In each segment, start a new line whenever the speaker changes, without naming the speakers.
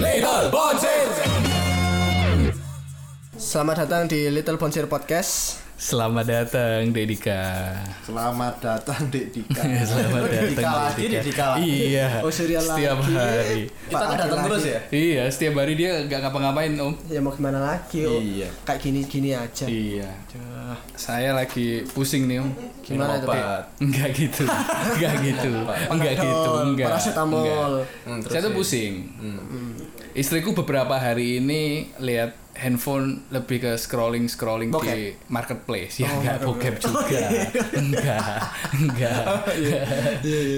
Little Bonsir.
Selamat datang di Little Bonsir Podcast.
Selamat datang Dedika.
Selamat datang Dek Dika.
Selamat
Dek Dika Oh, lagi, Dek Dika lagi.
Iya.
Oh, serial
setiap
lagi.
hari.
Pak,
Kita datang
lagi-lagi.
terus ya?
Iya, setiap hari dia nggak ngapa-ngapain Om.
Ya mau gimana lagi? Om?
Iya.
Kayak gini-gini aja.
Iya. Saya lagi pusing nih Om.
Gimana
Minum
tuh, Dek?
obat. Enggak gitu. Enggak gitu. Enggak gitu.
Panadol,
Enggak.
paracetamol.
Hmm,
Enggak. Saya tuh pusing. Hmm. Istriku beberapa hari ini lihat handphone lebih ke scrolling scrolling di marketplace ya enggak bokep juga enggak enggak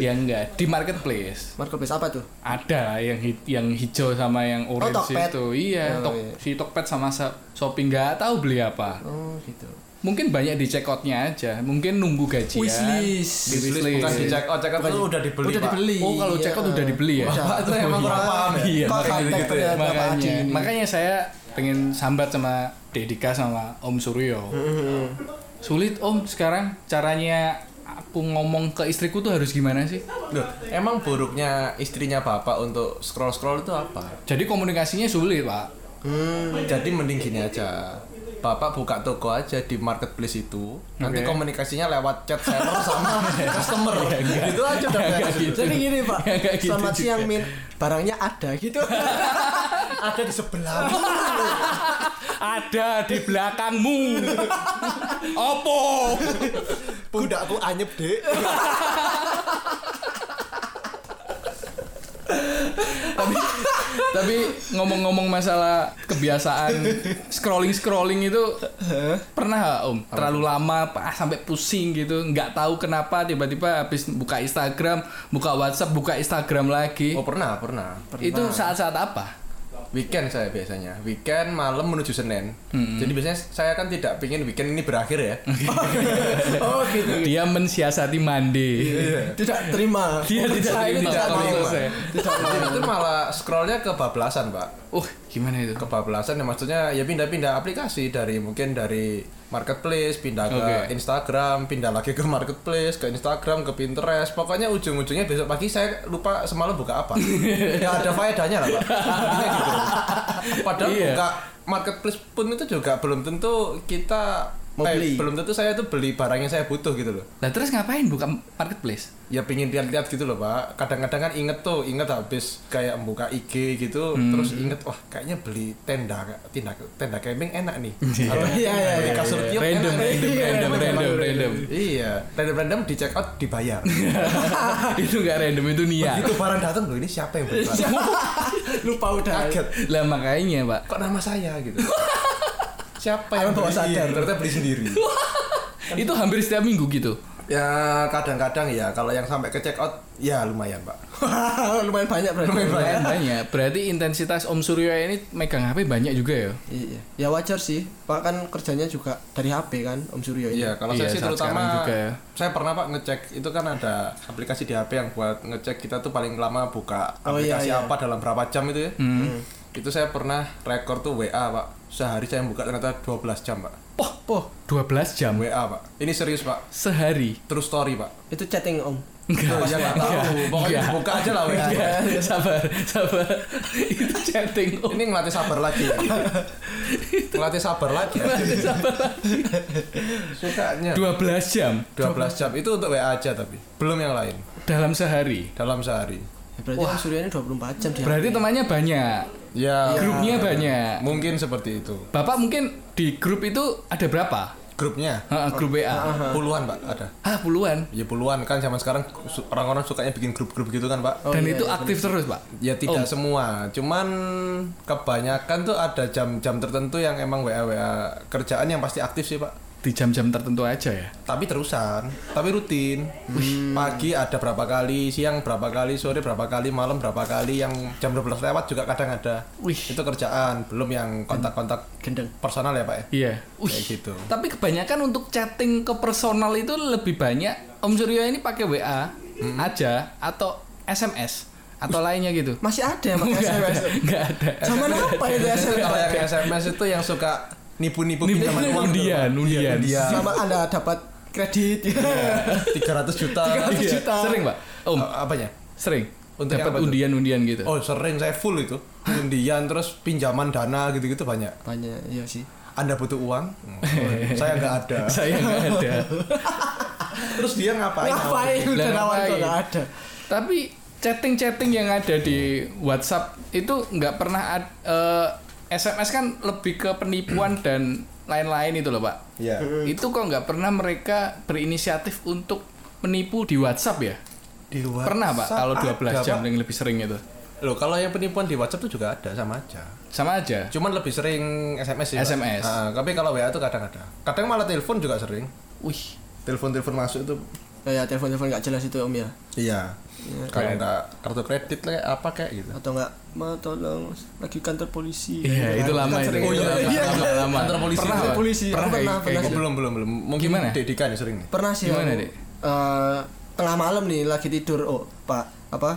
ya enggak di marketplace
Marketplace apa tuh?
ada yang hi- yang hijau sama yang orange
Tokped.
itu iya
Oh,
Tok-
iya.
si Tokped sama sa- Shopee nggak tahu beli apa
Oh gitu.
mungkin banyak di check outnya aja mungkin nunggu gajian
Wishlist.
di wishlist
Bukan di oh, check out, check out itu udah dibeli.
Udah
Pak.
dibeli.
oh kalau check out
Iya.
udah dibeli ya
Udah.
Pak itu emang kurang paham ya.
Iya,
Kok
makanya
high-tech
gitu ya.
ternyata, Pak Adi
makanya
ini?
makanya saya pengen sambat sama Dedika sama Om Suryo Mm-hmm. sulit Om sekarang caranya aku ngomong ke istriku tuh harus gimana sih
Loh, emang buruknya istrinya Bapak untuk scroll-scroll itu apa?
jadi komunikasinya sulit Pak
Jadi mending gini aja. Bapak buka toko aja di marketplace itu. Nanti
Oke.
komunikasinya lewat chat server sama customer. Itu aja udah
Nggak
beres.
Iya. gitu.
Jadi gini Pak,
Ya, nggak gitu
selamat
juga.
siang Min. Barangnya ada gitu. ada di sebelah.
ada di belakangmu. Opo?
Kuda aku anyep deh.
tapi tapi ngomong-ngomong masalah kebiasaan scrolling scrolling itu pernah nggak, om terlalu lama ah, sampai pusing gitu nggak tahu kenapa tiba-tiba habis buka Instagram buka WhatsApp buka Instagram lagi
Oh pernah, pernah.
itu saat-saat apa
Weekend saya biasanya, weekend malam menuju Senin. Jadi biasanya saya kan tidak pingin weekend ini berakhir ya.
oh gitu.
dia mensiasati mandi
Tidak terima. Oh,
dia Oh, tidak
Saya
terima
tidak
kalau
terima.
selesai
Jadi itu malah scrollnya kebablasan pak.
uh gimana itu
Kebablasan ya maksudnya ya pindah-pindah aplikasi dari mungkin dari marketplace pindah ke
Oke.
Instagram, pindah lagi ke marketplace, ke Instagram, ke Pinterest. Pokoknya ujung-ujungnya besok pagi saya lupa semalam buka apa. Tidak ada faedahnya lah pak. Intinya gitu. Padahal
Iya.
buka marketplace pun itu juga belum tentu kita eh,
Mau beli.
belum tentu saya tuh beli barang yang saya butuh gitu loh.
nah terus ngapain buka marketplace
ya pingin lihat-lihat gitu loh pak kadang-kadang kan inget tuh inget habis kayak buka IG gitu
Hmm.
terus inget wah kayaknya beli tenda tenda tenda camping enak nih Atau
Iya, iya,
beli kasur tiup
random
enak nih.
random
Iya,
random random random
iya random random di check out dibayar
itu nggak random itu niat
itu barang datang loh ini siapa yang beli barang?
Lupa udah.
kaget
lah makanya
kok
pak
nama saya gitu siapa yang
Alam bawah
beli
sadar.
ternyata beli sendiri
itu hampir setiap minggu gitu
ya kadang-kadang ya kalau yang sampai ke check out ya lumayan pak
Lumayan banyak berarti.
Lumayan banyak.
banyak berarti intensitas Om Suryo ini megang HP banyak juga ya
Iya. Ya wajar sih. Pak kan kerjanya juga dari HP kan Om Suryo ini.
Iya, kalau
Iya,
saya sih
saat sekarang
terutama
juga ya.
saya pernah Pak ngecek itu kan ada aplikasi di HP yang buat ngecek kita tuh paling lama buka
Oh, iya,
aplikasi
iya.
apa dalam berapa jam itu ya.
Hmm.
Itu saya pernah rekor tuh WA, Pak. Sehari saya buka ternyata 12 jam, Pak.
poh poh 12 jam ya?
WA, Pak. Ini serius, Pak.
sehari
True story, Pak.
Itu chatting Om.
enggak
Tuh, ya nggak tahu. Pokoknya buka aja lah WA.
enggak sabar sabar itu chatting Om
Ini ngelatih sabar lagi. ya. ngelatih sabar lagi. ya. Sukanya
12 jam
12 jam itu untuk WA aja tapi belum yang lain
dalam sehari
dalam sehari.
Ya, berarti Om Suryo ini 24 jam di
berarti temannya banyak
Ya,
grupnya banyak
mungkin seperti itu.
Bapak mungkin di grup itu ada berapa?
Grupnya
Ha, grup WA
puluhan pak ada.
ah puluhan
Ya puluhan kan zaman sekarang su- orang-orang sukanya bikin grup-grup gitu kan pak.
Oh,
dan
iya,
itu
iya,
aktif terus pak
Ya tidak semua, cuman kebanyakan tuh ada jam-jam tertentu yang emang WA WA kerjaan yang pasti aktif sih pak.
di jam-jam tertentu aja ya
Tapi terusan, tapi rutin. Pagi ada berapa kali, siang berapa kali, sore berapa kali, malam berapa kali, yang jam 12 lewat juga kadang ada.
Wih.
Itu kerjaan, belum yang kontak-kontak
gendeng.
personal ya pak ya.
Iya.
Kayak gitu.
Tapi kebanyakan untuk chatting ke personal itu lebih banyak Om Suryo ini pakai WA
Hmm.
aja atau SMS atau lainnya gitu.
Masih ada yang pakai
Enggak ada.
SMS.
Enggak ada.
Zaman apa itu SMS?
Kalau yang SMS itu yang suka nipu-nipu
Ini
pinjaman uang gitu, tuh.
undian, undian.
Iya,
Iya.
undian.
Sama Anda dapat kredit.
tiga ratus juta
300
Iya.
juta.
Sering, Pak. Om,
A- apanya
sering.
Oh. Untuk
dapat
apa tuh?
undian-undian gitu.
Oh sering saya full itu undian terus pinjaman dana gitu-gitu banyak.
banyak iya sih
Anda butuh uang? Hmm, saya nggak ada.
Saya nggak ada.
Terus dia ngapain?
ngapain udah kawan
Lah,
kok
ngapain?
nggak ada
Tapi chatting-chatting yang ada di WhatsApp itu nggak pernah ad- eh, SMS kan lebih ke penipuan dan lain-lain itu loh pak.
Iya.
Itu kok nggak pernah mereka berinisiatif untuk menipu di WhatsApp ya?
Di
Pernah pak?
WhatsApp
Kalau 12
ada,
jam
Pak.
yang lebih sering itu,
Loh kalau yang penipuan di WhatsApp tuh juga ada sama aja.
sama aja.
Cuman lebih sering SMS sih. Pak.
SMS.
Ah, tapi kalau WA tuh kadang ada. Kadang malah telepon juga sering.
Wih,
Telepon-telepon masuk itu
Oh ya telepon telepon nggak jelas itu om ya
Iya. Kalau nggak kartu kredit kayak apa kayak gitu.
atau nggak mau tolong lagi kantor polisi Kan
Iya, itu lama itu.
sering. Oh, iya,
Lama,
iya.
lama, lama.
Kantor polisi.
Pernah,
Kantor
Pak?
polisi.
Pernah,
Pernah,
kayak- kayak
pernah.
Oh,
gitu.
belum belum belum. Mungkin
Gimana?
Dedika nih sering nih.
pernah sih
Gimana,
aku,
Dek?
eh, tengah malam nih lagi tidur oh pak apa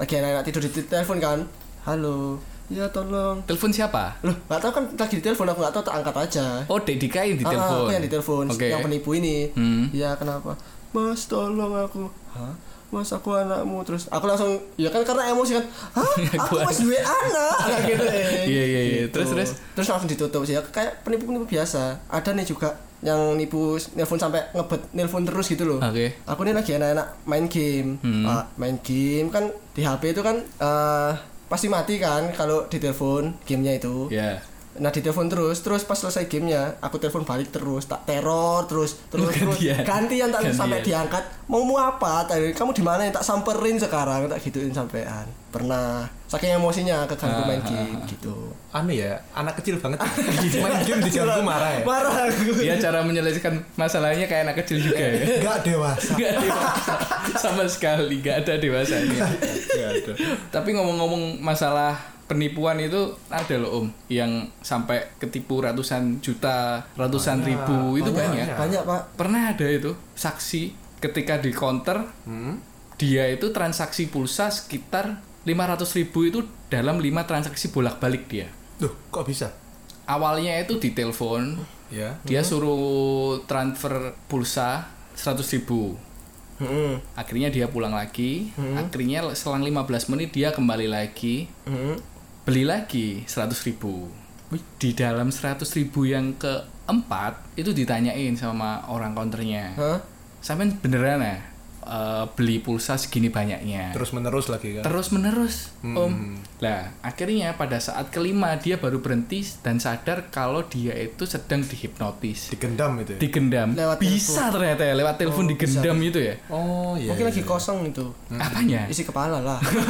lagi anak-anak tidur di telepon kan halo ya tolong
Telepon siapa?
loh nggak tahu kan lagi di telepon aku nggak tahu tak angkat aja
Oh, Dedikain di
Ah,
telepon.
aku yang ditelepon
Oke.
yang penipu ini
Hmm.
ya kenapa mas tolong aku Hah? mas aku anakmu terus aku langsung ya kan karena emosi kan Hah? aku
Aku
mas dua anak Kayak gitu eh.
Ya, Iya, iya, iya.
Gitu.
Terus, terus?
terus langsung ditutup sih ya kayak penipu penipu biasa ada nih juga yang nipu nelpon sampai ngebet nelpon terus gitu loh
Oke.
aku nih lagi enak-enak main game
Hmm.
Pak, main game kan di HP itu kan eh, pasti mati kan kalau ditelepon gamenya itu
Ya.
Nah ditelepon terus, terus pas selesai gamenya aku telepon balik terus, tak teror terus, terus terus
Gantian.
gantian tak
Gantian.
sampai diangkat. Mau mau apa? Tadi kamu di mana? Tak samperin sekarang, tak gituin sampean. Pernah saking emosinya keganggu main game gitu.
Anu ya, anak kecil banget. Main game diganggu marah ya.
Marah aku.
Dia cara menyelesaikan masalahnya kayak anak kecil juga ya.
Enggak dewasa.
Gak dewasa sama sekali, gak ada dewasanya.
Nggak ada.
Tapi ngomong-ngomong masalah penipuan itu ada loh om yang sampai ketipu ratusan juta, ratusan ribu itu banyak.
Banyak, Pak.
Pernah ada itu saksi ketika di counter
Hmm?
dia itu transaksi pulsa sekitar 500.000 ribu itu dalam 5 transaksi bolak-balik dia.
Duh, kok bisa?
Awalnya itu di telepon,
Ya.
dia suruh transfer pulsa 100.000 ribu.
Heeh.
Akhirnya dia pulang lagi, akhirnya selang 15 menit dia kembali lagi,
Heeh.
beli lagi 100.000 ribu. Di dalam 100.000 ribu yang keempat itu ditanyain sama orang counternya.
Hah?
Sampai beneran ya eh, beli pulsa segini banyaknya.
Terus menerus lagi kan.
terus menerus om lah akhirnya pada saat kelima dia baru berhenti dan sadar kalau dia itu sedang dihipnotis
Digendam itu. ya?
digendam
Lewat
bisa ternyata ya lewat telepon digendam itu ya
Oh iya.
Mungkin
iya,
lagi
iya.
kosong itu.
apanya
Isi kepala lah.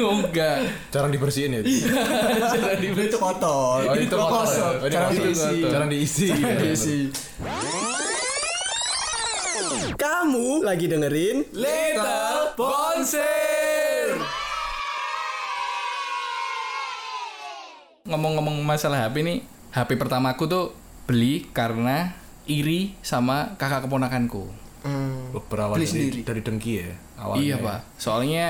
oh enggak
Jarang dibersihin ya.
Cara di-
itu kotor.
Oh, itu kotor.
kosong.
Oh, ini
Jarang
kosong.
diisi.
Jarang diisi. Iya,
Jarang diisi. Kamu lagi dengerin
Little Bonser Ngomong-ngomong masalah HP nih HP pertamaku tuh beli karena iri sama kakak keponakanku
Hmm.
Oh, Berawal
Beli sendiri.
dari, dari dengki ya awalnya.
Iya
ya.
pak. Soalnya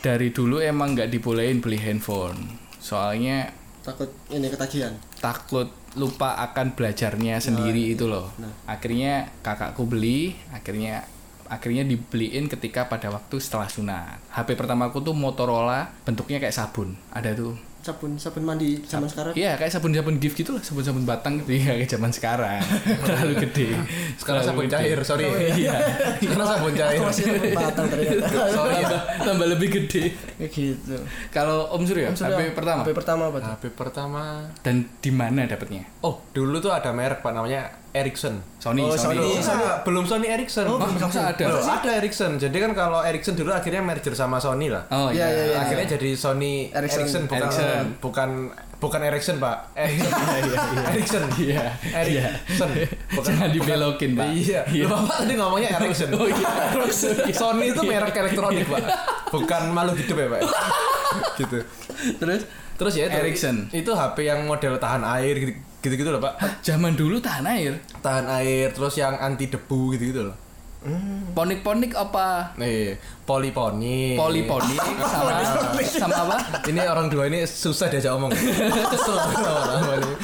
dari dulu emang nggak dibolehin beli handphone. Soalnya
takut ini ketagihan
takut lupa akan belajarnya sendiri itu loh. Akhirnya kakakku beli, akhirnya akhirnya dibeliin ketika pada waktu setelah sunat. HP pertamaku tuh Motorola, bentuknya kayak sabun. Ada tuh.
sabun sabun mandi zaman sekarang
Iya, kayak sabun-sabun gift gitu lah, sabun-sabun batang gitu ya kayak zaman sekarang. Terlalu gede.
Sekarang
Terlalu
sabun
gede.
cair, sorry.
Iya.
Sekarang sabun cair.
aku masih lebih batang ternyata
tambah, tambah lebih gede.
Kayak gitu
Kalau Om Surya,
Sudah,
HP pertama.
HP pertama apa tuh?
HP pertama.
dan di mana dapatnya?
Oh, dulu tuh ada merek Pak namanya Ericsson.
Sony,
Oh, Sony.
Sony.
Belum, enggak, belum Sony Ericsson.
Oh,
Hah,
belum
masa
Sony.
ada?
Loh, ada Ericsson. Jadi kan kalau Ericsson dulu akhirnya merger sama Sony lah.
Oh
Iya,
iya.
iya, iya.
akhirnya jadi Sony
Ericsson.
Ericsson, bukan,
Ericsson.
bukan bukan Ericsson Pak. Ericsson. Ericsson.
Iya. Iya.
Ericsson. Bukan-
Jangan dibelokin, Pak.
Iya. Loh, Bapak tadi ngomongnya Ericsson.
Oh iya.
Sony itu merek elektronik, Pak. Bukan makhluk hidup ya, Pak. gitu.
Terus
Terus ya itu
Ericsson.
Itu HP yang model tahan air gitu- gitu-gitu loh, Pak.
zaman dulu tahan air.
Tahan air, terus yang anti debu gitu-gitu loh.
Ponik-ponik apa?
Nih, poliponi.
Poliponik sama sama apa?
Ini orang dua ini susah diajak omong. Kesel sama orang dua ini.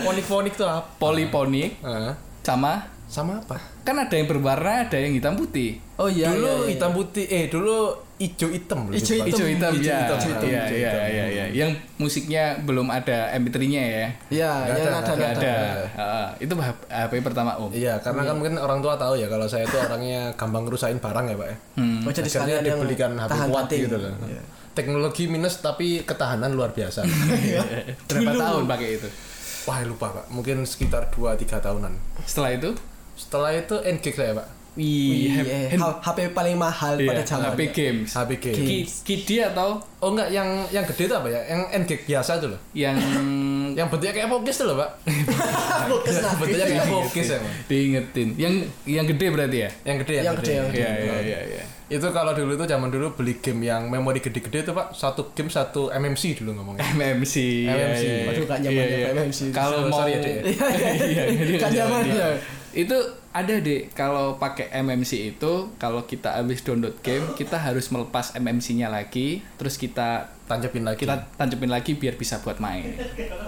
Ponik-ponik tuh apa?
Poliponik
Eh,
sama
sama apa
Kan ada yang berwarna, ada yang hitam putih.
Oh iya.
dulu
iya, iya.
hitam putih eh dulu hijau hitam
Ijo hitam.
Hijau hitam,
ijo
ya.
hitam, ijo hitam,
Iya,
ijo
iya,
hitam.
iya, iya. Yang musiknya belum ada MP3-nya ya.
Iya,
Nggak
ya
ada,
nada
nggak
Gak
nada.
ada. Heeh. itu HP, HP pertama Oh, Om.
Iya, karena kan mungkin orang tua tahu ya kalau saya itu orangnya gampang ngerusain barang ya, Pak ya.
Oh, jadi
Akhirnya
sekalian yang
dibelikan HP
tahan
kuat
banting.
gitu loh.
Iya.
Teknologi minus tapi ketahanan luar biasa.
Berapa tahun pakai itu?
Wah, lupa, Pak. Mungkin sekitar 2 3 tahunan.
Setelah itu?
Setelah itu end gig saya, Pak.
Wih,
Iya, H-
hand-
HP paling mahal
iya,
pada zaman. ya.
HP games.
HP gig.
Gig.
Ki- Kidi atau
Oh enggak, yang yang gede itu apa ya? Yang end gig biasa itu loh.
yang
Yang bentuknya kayak pokis itu loh, Pak.
Fokus lah.
bentuknya kayak pokis ya, Pak.
diingetin? Yang yang gede berarti ya?
Yang gede,
Yang gede, yang gede.
Iya, iya, iya, iya.
Itu kalau dulu itu zaman dulu beli game yang memori gede-gede itu, Pak. Satu game satu MMC dulu ngomongnya.
MMC. iya,
MMC.
iya, iya.
Waduh, gak nyaman
Iya,
ya,
iya.
MMC.
Kalau mau
Sorry ya, Dek.
Iya, iya, iya.
Gak nyaman ya.
Itu ada deh kalau pakai MMC itu kalau kita habis download game kita harus melepas MMC-nya lagi terus kita
Tancepin lagi.
kita
Iya.
tancepin lagi biar bisa buat main.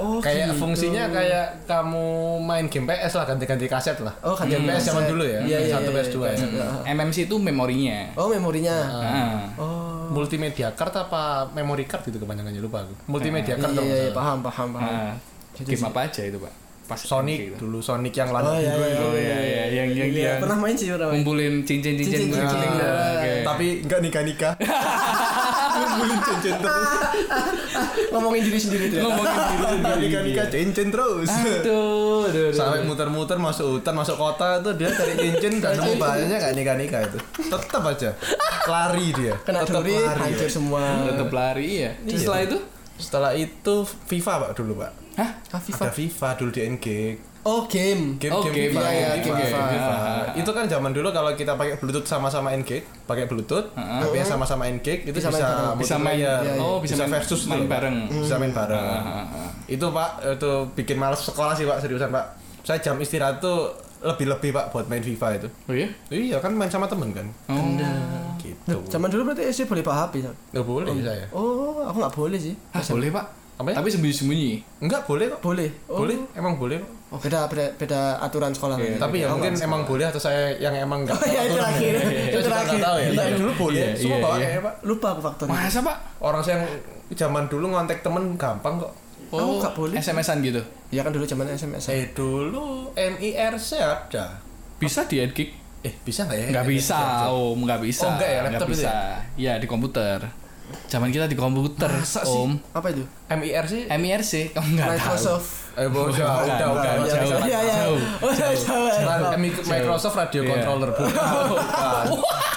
Oh,
kayak
gitu.
fungsinya kayak kamu main game PS lah ganti-ganti kaset lah.
Oh, ganti
game PS zaman
kaset.
dulu ya.
Iya, iya,
PS1
iya,
PS2 ya.
iya.
MMC itu memorinya.
Oh, memorinya.
Nah,
Oh.
Multimedia card apa memory card gitu kepanjangannya lupa aku. Multimedia
Iya,
card dong.
iya, iya, paham, paham, paham.
nah, game apa aja itu pak? Pas
Sonic
MMC itu.
dulu Sonic yang lana
Oh, iya,
biru
iya,
itu.
Oh iya iya yang yang
Iya,
dia
pernah main sih, pernah main.
ngumpulin cincin-cincin
Cincin-cincin.
kucing.
Ah,
Oke.
Tapi enggak nikah-nikah. Ngumpulin cincin terus.
Ngomongin diri sendiri tuh. ya.
ngomongin diri sendiri.
Nikah-nikah cincin terus.
Aduh, aduh, aduh.
Sampai muter-muter masuk hutan, masuk kota itu dia cari cincin dan nemu banyaknya enggak nikah-nikah itu. Tetap aja lari dia.
Kena
Tetap
duri,
lari.
hancur semua.
tetap lari ya.
Iya.
Terus setelah itu?
Setelah itu FIFA Pak dulu Pak.
Hah?
Ah, FIFA.
Ada FIFA dulu di NG.
Oh, game.
Game,
Oh,
game,
game,
FIFA,
iya, iya,
game,
game,
FIFA,
game.
FIFA.
Ah.
Itu kan zaman dulu kalau kita pakai Bluetooth sama-sama NG, pakai Bluetooth, tapi sama-sama NG itu bisa
Bisa main bareng.
Ah. Bisa main.
multiplayer,
Iya, iya. Oh, bisa main-
versus
main
tuh, Pak. Hmm.
bareng.
Bisa main
Ah,
bareng. Itu Pak, itu bikin males sekolah sih Pak, seriusan Pak. Saya jam istirahat tuh lebih-lebih Pak buat main FIFA itu.
Oh iya.
Iya kan main sama temen kan.
Oh.
Gitu.
Zaman dulu berarti SD boleh pakai HP. Sam?
Nggak boleh saya.
Oh, aku nggak boleh sih.
Hah, Ah, boleh pak?
Apa ya?
Tapi sembunyi-sembunyi.
Enggak boleh kok.
Boleh. Oh.
Boleh, emang boleh kok.
Oh, beda beda beda aturan sekolah.
Iya,
kan?
tapi ya mungkin emang boleh atau saya yang emang enggak
Oh iya, itu terakhir. Itu terakhir.
tahu ya. Tapi
Iya.
dulu boleh.
Iya,
Semua
iya,
bawa
iya.
kayaknya, Pak.
Lupa aku faktornya.
Masa pak?
Orang saya yang zaman dulu ngontek temen gampang kok.
Oh, nggak boleh.
SMS-an gitu.
Ya kan dulu zaman SMS.
Eh dulu MIRC ada.
Bisa di edgig?
Eh bisa nggak ya?
Nggak bisa, om. Nggak bisa.
Oh, nggak ya, laptop itu
bisa. Ya di komputer. Zaman kita di komputer,
Masa sih?
om.
Apa itu?
MIRC?
MIRC, kamu nggak tahu.
Microsoft.
Eh bu, udah, udah, udah,
bukan,
udah.
jauh.
Iya, iya.
Jauh.
Oh, jauh.
Ra- Mi- Microsoft Radio
Iya.
Controller bukan, bukan,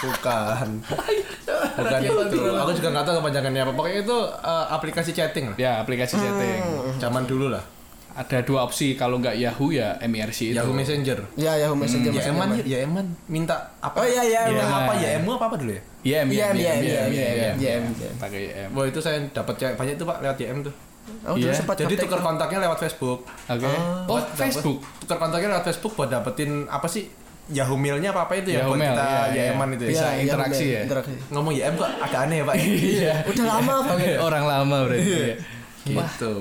bukan, bukan itu. Aku juga nggak tahu kepanjangannya apa. Pokoknya itu eh, aplikasi chatting lah.
Ya aplikasi
Hmm.
chatting.
Zaman dulu lah.
Ada dua opsi kalau nggak Yahoo ya MIRC itu.
Yahoo Messenger.
Ya, ya, Messenger.
Ya
Messenger.
Eman, ya Eman minta apa?
Oh, iya, iya,
Minta
Eman.
apa ya Emu apa apa dulu ya?
YM YM
YM,
YM
iya,
YM,
YM
YM.
pakai YM.
Wah itu saya dapat cewek banyak tuh pak lewat DM tuh.
Aku dulu
Iya.
sempat
Jadi
praktek.
tukar kontaknya lewat Facebook.
Oke. Oh,
Buat
Facebook.
dapet- tukar kontaknya lewat Facebook buat dapetin apa sih Yahoo Mail-nya apa apa itu ya
Yahoo
buat
Mail,
kita
iya, iya.
YM-an itu ya.
Bisa
Iya, iya,
interaksi
bener,
ya?
Interaksi.
Ngomong YM kok agak aneh ya pak.
Iya.
Udah lama banget.
Orang lama berarti. ya.
gitu.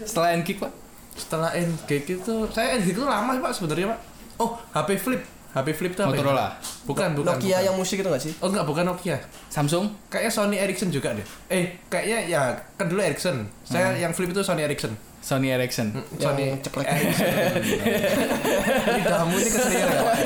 Setelah N-Kick, Pak.
Setelah NGG itu saya NGG itu lama sih pak sebenarnya pak. Oh HP Flip, HP Flip itu apa? ya?
Motorola.
Bukan bukan.
Nokia
bukan.
yang musik itu nggak sih?
Oh enggak bukan Nokia.
Samsung.
Kayaknya Sony Ericsson juga deh. Eh kayaknya ya kan dulu Ericsson. Saya
Hmm.
yang Flip itu Sony Ericsson. Hmm,
Sony Ericsson.
Sony
Yang ceklek.
Ericsson. Lidahmu ini keseringan ya pak.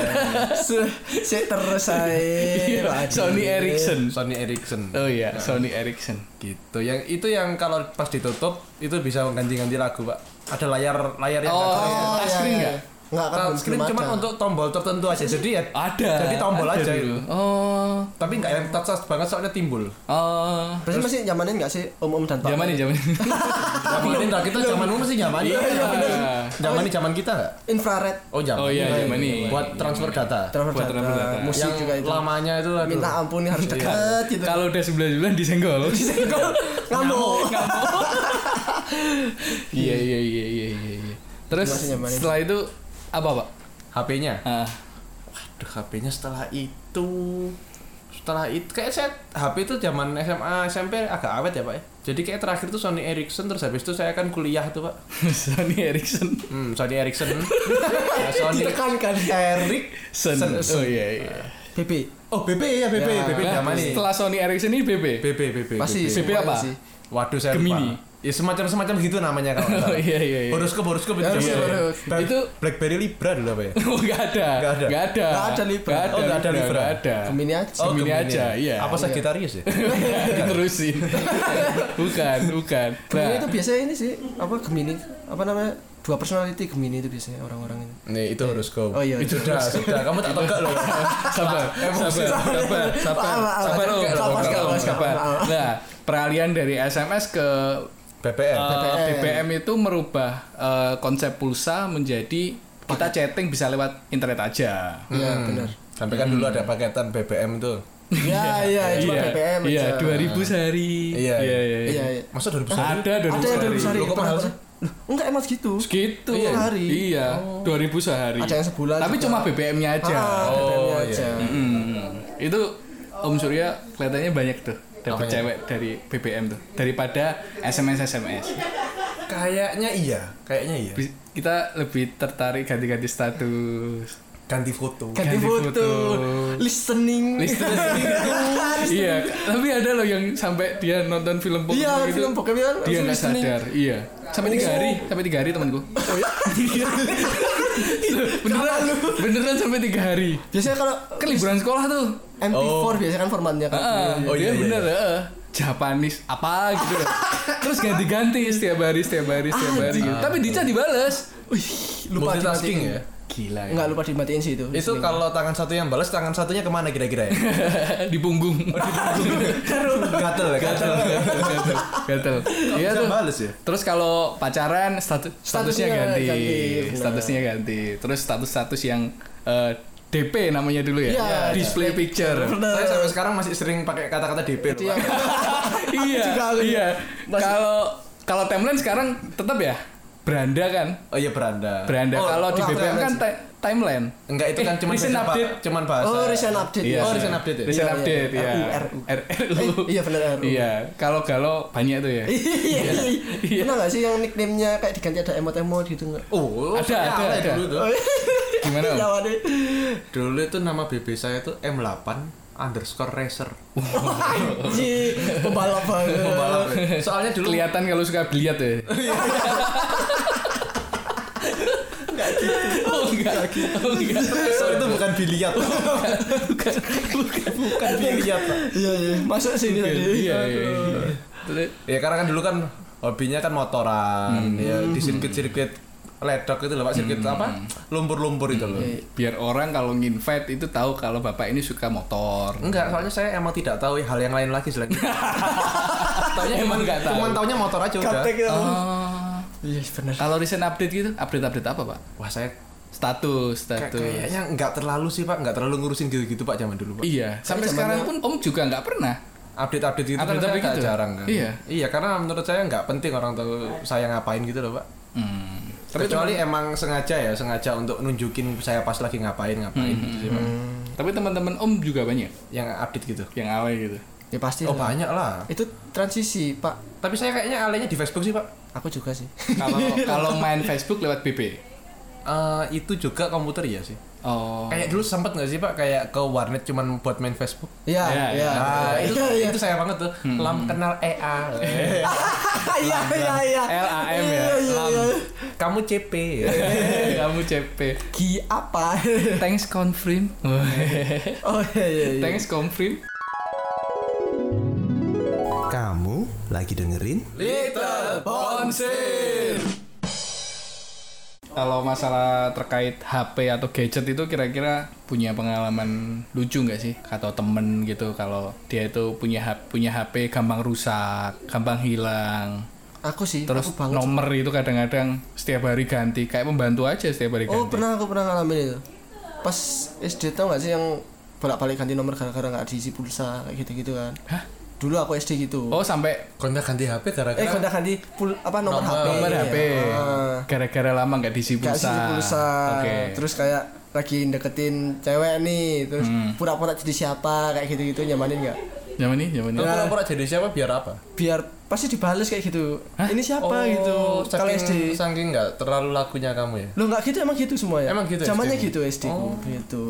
Se- se- terus saya. Waduh.
Iya, Sony Ericsson.
Sony Ericsson.
Eh.
Oh iya, Sony Ericsson.
gitu yang itu yang kalau pas ditutup itu bisa ganti-ganti lagu pak ada layar layar yang
Oh,
nggak
Oh,
touch
iya,
screen
iya.
nggak?
Nggak
kelihatan.
kan
touch screen
belum Ah.
cuma
ada.
untuk tombol tertentu aja jadi ya
Ada.
jadi tombol
Ada
aja
dulu.
itu
Oh.
tapi nggak yang touch touch banget soalnya timbul
Oh.
Berarti masih zamanin nggak sih om-om dan pak?
Zaman nih, zaman.
Ah,
zaman ini kita zaman dulu sih zaman
Iya,
ini zaman ini zaman kita nggak
Infrared.
oh zaman
Oh iya, zaman ini.
buat transfer data
Transfer
Buat transfer
data.
data.
Musik
yang
juga itu.
lamanya itu aduh.
Minta ampun ini harus deket gitu.
Iya. Kalau udah sebulan-bulan disenggol.
Iya,
Ngamuk.
Iya, iya, iya, iya, iya, iya. Terus
Masih nyamanin.
setelah itu apa, Pak?
HP-nya
Ah.
Aduh, HP-nya setelah itu setelah itu kayak saya HP itu zaman SMA SMP agak awet ya pak ya Jadi kayak terakhir tuh Sony Ericsson terus habis itu saya kan kuliah tuh pak.
Sony Ericsson
Hmm, Sony Ericsson. Ya, Sony
Ditekankan
Ericsson.
Sen. Oh iya iya.
PP.
Oh BP ya BP
Ya,
BP
Nah,
zaman ini.
setelah Sony Ericsson ini BB.
BP BP. BP.
Pasti
BP
semuanya
apa?
sih.
Waduh saya lupa.
Gemini.
Ya semacam semacam gitu namanya kalau nggak
Oh,
salah.
iya iya iya.
Horoskop horoskop itu. zaman
Ya, horoskop,
dulu.
horoskop.
Black-
Itu-
BlackBerry Libra dulu apa ya?
Oh enggak ada.
Nggak ada.
Nggak ada.
Nggak ada Libra.
Nggak ada.
Oh, nggak ada
Libra,
Libra.
nggak ada.
Gemini aja.
Oh, Gemini aja, iya.
Apa
Iya.
Sagittarius ya?
Diterusin. bukan, bukan.
Gemini
Nah,
itu biasanya ini sih apa Gemini apa namanya dua personality Gemini itu biasanya orang-orang ini.
Nih itu horoskop.
Oh, iya,
Itu sudah sudah kamu tak tegak loh.
Nah, sabar, sabar, sabar, sabar,
Maaf,
sabar,
maaf. Maaf, maaf,
Om. Sabar, Om.
maaf.
Sabar.
Maaf.
Nah, peralihan dari SMS ke
BPM.
Eh,
BBM.
BBM itu merubah eh, konsep pulsa menjadi kita chatting bisa lewat internet aja.
Iya, benar.
Sampai kan
Hmm.
dulu ada paketan BBM tuh.
Iya, iya, cuma
iya,
BBM
Iya,
aja.
2000 sehari.
Iya, iya.
Iya, iya.
Masa 2000
Ada
Ada
2000
yang
sehari.
2000 sehari.
Loh, kok
pernah-
mahal sih?
Loh, Enggak emang segitu.
Segitu.
Iya, sehari.
Iya, 2000 sehari.
Ada yang sebulan
Tapi
juga.
cuma BBM-nya aja.
Ah,
Oh,
BBM-nya
iya.
aja.
Mm. Itu Om Surya kelihatannya banyak tuh dapat
ya?
cewek dari BBM tuh daripada SMS SMS.
Kayaknya iya, kayaknya iya.
Kita lebih tertarik ganti-ganti status.
Ganti foto.
Ganti
Ganti foto.
foto. Listening.
Listening. iya tapi ada loh yang sampai dia nonton film bokep
Iya,
gitu,
film bokep kan
dia
langsung Oh.
nggak
listening.
sadar iya sampai tiga hari sampai tiga hari temanku Iya. beneran beneran sampai tiga hari
Biasanya kalau
kan liburan sekolah tuh
MP4
Oh.
biasanya kan formatnya kan.
Heeh,
Oh,
dia
iya, iya,
bener heeh. Japanis Eh. apa gitu loh. terus ganti-ganti setiap hari setiap hari setiap hari gitu. tapi Dica dibales
Wih, lupa
Multitasking
dimatiin.
ya.
gila ya
Enggak lupa dimatiin sih itu.
Itu
listening.
kalau tangan satu yang balas, tangan satunya kemana kira-kira ya?
di punggung
gatel, ya, gatel.
gatel gatel iya
Bisa
tuh
balas ya?
Terus kalau pacaran statu- statusnya
Statusnya
ganti,
ganti, benar.
statusnya ganti. Terus status-status yang eh, DP namanya dulu ya,
Iya,
display picture.
Bener.
Saya sampai sekarang masih sering pakai kata-kata DP. loh,
Iya.
Pak.
iya,
Juga aku
iya.
Masih-
Kalau kalau timeline sekarang tetap ya beranda kan,
Oh iya beranda.
beranda.
Oh,
kalau di
enggak,
BBM kan
timeline sih.
ti- timeline.
enggak itu kan
Eh,
cuman
recent
bahasa, Pak.
update.
cuman bahasa.
Oh, recent update.
Iya,
Oh,
ya.
recent update ya?
Recent
Iya, iya,
update ya.
RU.
RU.
Eh, iya, benar, RU.
Iya, kalau galau banyak tuh ya.
Iya. Pernah nggak sih yang nickname-nya kayak diganti ada emot-emot gitu nggak? Iya,
Oh,
Ada,
saya
ada,
alay
ada.
Dulu, tuh.
Gimana? Om?
iya.
Jawabannya.
dulu itu nama BB saya tuh M8 underscore racer.
Ji, pembalap banget.
Pembalap. ya. Soalnya dulu
Kelihatan kalau suka biliar ya. Oh enggak. Oh enggak.
racer itu bukan biliar.
Bukan. Bukan.
bukan biliar, Pak.
Iya, iya. Masuk sini tadi.
Iya, iya. iya. Terus-
Ya karena kan dulu kan hobinya kan motoran, ya di sirkuit-sirkuit ledok itu loh Pak, sirkuit apa? Lumpur-lumpur itu loh.
biar orang kalau nginvite itu tahu kalau bapak ini suka motor.
Enggak, soalnya saya emang tidak tahu hal yang lain lagi selain itu. Taunya
Emang nggak tahu.
Cuman taunya motor aja udah.
Gaptek ya.
Oh.
Iya, benar.
Kalau recent update gitu, update-update apa, Pak?
Wah, saya
Status,
kayak-
status.
kayaknya nggak terlalu sih Pak, nggak terlalu ngurusin gitu-gitu Pak zaman dulu Pak.
Iya, sampai
Tapi
sekarang pun Om juga nggak pernah.
Update-update gitu kan
Update-update
saya agak
gitu.
jarang kan.
Iya.
Iya, karena menurut saya nggak penting orang tahu saya ngapain gitu loh Pak.
Hmm.
Kecuali emang sengaja ya, sengaja untuk nunjukin saya pas lagi ngapain ngapain gitu sih Pak.
Tapi teman-teman Om juga banyak
Yang update gitu.
yang awal gitu.
Ya pasti.
Oh
lah.
banyak lah.
Itu transisi, Pak.
Tapi saya kayaknya alenya di Facebook sih pak.
Aku juga sih.
Kalau kalau main Facebook lewat BB.
Eh, itu juga komputer ya sih.
Oh.
Kayak dulu sempet nggak sih pak kayak ke warnet cuman buat main Facebook.
Iya,
Iya,
iya.
Nah, itu,
Iya, iya.
itu saya banget tuh. Lam kenal EA.
Iya, iya, iya.
LAM ya.
Iya, iya, iya.
Lam.
Kamu CP.
Eh, Kamu CP.
Ki apa?
Thanks confirm.
Oh, iya, iya, iya.
Thanks confirm.
Kamu lagi dengerin
Little
Kalau masalah terkait HP atau gadget itu kira-kira punya pengalaman lucu nggak sih? Atau temen gitu kalau dia itu punya HP, punya HP gampang rusak, gampang hilang.
Aku sih, Iya,
Terus
aku banget.
nomor itu kadang-kadang setiap hari ganti, kayak pembantu aja setiap hari
Oh
ganti.
pernah aku pernah ngalamin itu. Pas SD tau gak sih yang bolak-balik ganti nomor gara-gara nggak diisi pulsa kayak gitu-gitu kan?
Hah?
Dulu aku SD gitu.
Oh, sampai
Kontak ganti HP gara-gara.
Eh kontak ganti pul apa nomor, HP?
nomor HP.
Ah,
Gara-gara lama nggak diisi
nggak
pulsa.
diisi pulsa.
Oke.
Terus kayak
Hmm.
lagi deketin cewek nih, terus pura-pura jadi siapa kayak gitu-gitu nyamanin nggak?
Zaman ini, zaman ini.
Lu pura-pura jadi siapa biar apa?
biar pasti dibales kayak gitu ini siapa
Oh,
gitu kalau
saking-
SD
Saking nggak terlalu lakunya kamu ya?
Lo nggak gitu emang gitu semua ya?
Emang gitu
Zamannya
SD-mu?
gitu SD ku, gitu.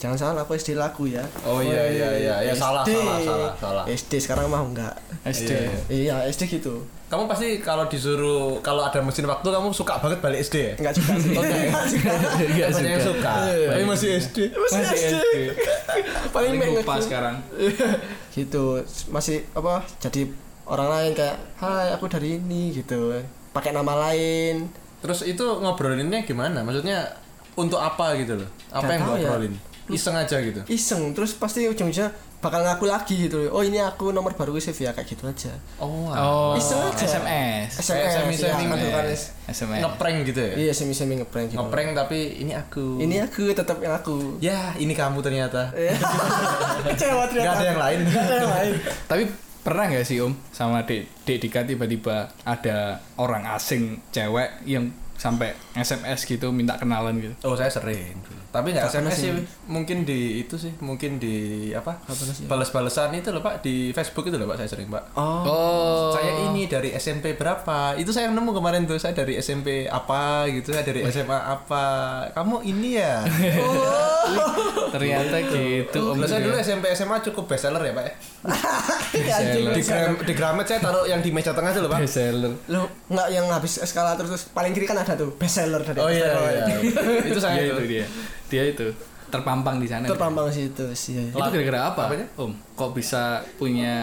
Jangan salah aku SD laku ya.
Oh, iya, iya, iya. Ya, salah, salah, salah, salah.
SD sekarang mah enggak.
SD.
Iya.
Iya, SD gitu.
Kamu pasti kalau disuruh kalau ada mesin waktu kamu suka banget balik SD ya?
Enggak juga sih. Enggak juga.
Enggak
Banyak yang
suka.
suka. Tapi Iya. masih SD.
Masih SD. Paling
Paling
pengen
lupa sekarang.
gitu. Masih apa? Jadi orang lain kayak, "Hai, aku dari ini" gitu. Pakai nama lain.
Terus itu ngobrolinnya gimana? Maksudnya untuk apa gitu loh? Apa
Nggak
yang
tahu ya.
ngobrolin? Iseng aja gitu.
Iseng terus pasti ujung-ujungnya bakal ngaku lagi gitu. Oh, ini aku nomor baru save ya kayak gitu aja.
Oh,
Oh,
Iseng aja.
SMS.
SMS, ya,
semi-semi
kan.
SMS.
SMS.
ngeprank gitu ya?
Iya, semi-semi ngeprank gitu.
Ngeprank tapi ini aku.
Ini aku tetap yang aku.
Ya, ini kamu ternyata.
Kecewa
Gak Iya. ada
ternyata.
yang lain.
yang lain.
Tapi pernah nggak sih Om sama Dek Dek Dika tiba-tiba ada orang asing cewek yang sampai SMS gitu minta kenalan gitu.
Oh saya sering Tapi nggak
Nggak
SMS
pernah
sih.
sih.
ya, Mungkin di itu sih Mungkin di apa
Nggak pernah sih.
Balas-balesan itu loh pak Di Facebook itu loh pak Saya sering pak
Oh,
Oh.
Saya ini dari SMP berapa Itu saya nemu kemarin tuh Saya dari SMP apa gitu Saya dari SMA apa Kamu ini ya
Oh,
Oh, Ternyata gitu Om.
Kalau saya
Gitu
dulu
ya.
SMP SMA cukup bestseller ya pak ya
iya, anjing.
Di, gram, di Gramet saya taruh yang di meja tengah tuh loh pak
Bestseller.
Lo nggak yang habis eskalator terus paling kiri kan ada tuh best seller dari
Oh
atas
iya,
sampai
iya.
bawah.
Itu
Dia
saya
itu
itu
dia. Dia itu terpampang di sana.
Terpampang sih itu sih. iya,
Oh,
iya.
Itu gara-gara apa?
Apanya?
Om, kok bisa punya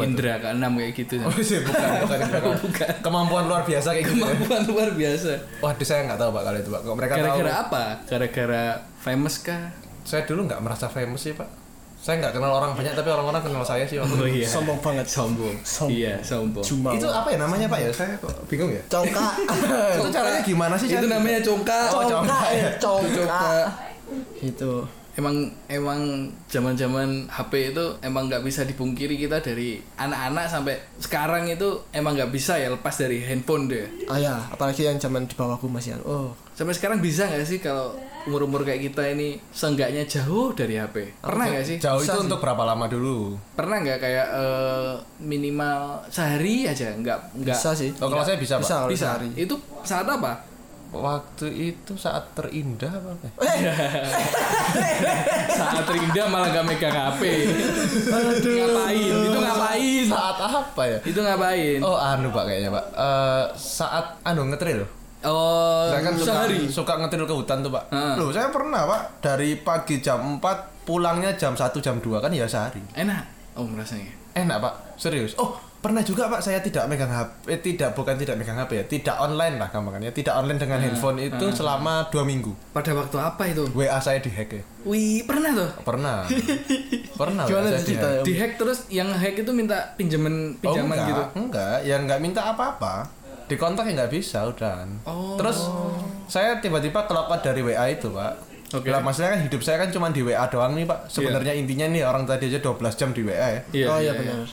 indera keenam kayak gitu?
Oh, sih, bukan, bukan, bukan. Kemampuan luar biasa kayak gitu ya.
Kemampuan luar biasa.
Waduh saya nggak tahu pak kalau itu pak Kok mereka tahu
Gara-gara apa? Gara-gara famous kah?
saya dulu nggak merasa famous sih pak saya nggak kenal orang banyak tapi orang-orang kenal saya sih waktu itu.
iya.
Sombong banget.
Sombong.
Sombong.
Iya, sombong.
Cuma.
itu apa ya namanya pak ya saya kok bingung ya
congka.
itu caranya gimana sih
Itu
cara-
namanya congka.
Oh,
congka. ya, Congka.
Congka.
Itu.
Emang emang zaman-zaman HP itu emang nggak bisa dipungkiri kita dari anak-anak sampai sekarang itu emang nggak bisa ya lepas dari handphone deh.
Ah ya, apalagi yang zaman di bawahku masih yang, oh
Sampai sekarang bisa nggak sih kalau umur-umur kayak kita ini seenggaknya jauh dari HP? Pernah nggak sih?
jauh itu untuk berapa lama dulu
Pernah nggak kayak eh, minimal sehari aja nggak nggak
bisa sih.
oh, kalau saya bisa,
Bisa
pak
kalau
bisa. Iya,
sehari.
Itu saat apa?
waktu itu saat terindah apa Pak? Eh,
Saat Rinda malah nggak megang HP. ngapain? Itu ngapain?
saat apa ya
Itu ngapain?
oh anu pak kayaknya pak Eh, saat anu ngetril
Oh,
saya kan suka,
sehari.
suka ngetril ke hutan tuh pak
Heeh.
loh saya pernah pak dari pagi jam 4 pulangnya jam 1 jam 2 kan ya sehari
Enak. Oh, rasanya.
Enak pak, serius. Oh pernah juga pak saya tidak megang HP, eh, tidak bukan tidak megang HP ya, tidak online lah gampangannya, tidak online dengan
Hmm.
handphone itu selama dua minggu.
Pada waktu apa itu?
WA saya dihack ya.
Wih, pernah tuh.
Pernah. pernah.
Gimana
WA saya
cerita
dihack.
ya?
Dihack terus yang hack itu minta pinjaman
Oh,
pinjaman
enggak,
gitu.
Enggak, ya enggak minta apa-apa. Di kontak ya nggak bisa udah.
Oh.
Terus saya tiba-tiba kelopak dari WA itu pak.
Oke. Iya.
Lah maksudnya kan hidup saya kan cuma di WA doang nih pak. Sebenarnya intinya nih orang tadi aja 12 jam di WA ya.
oh iya benar.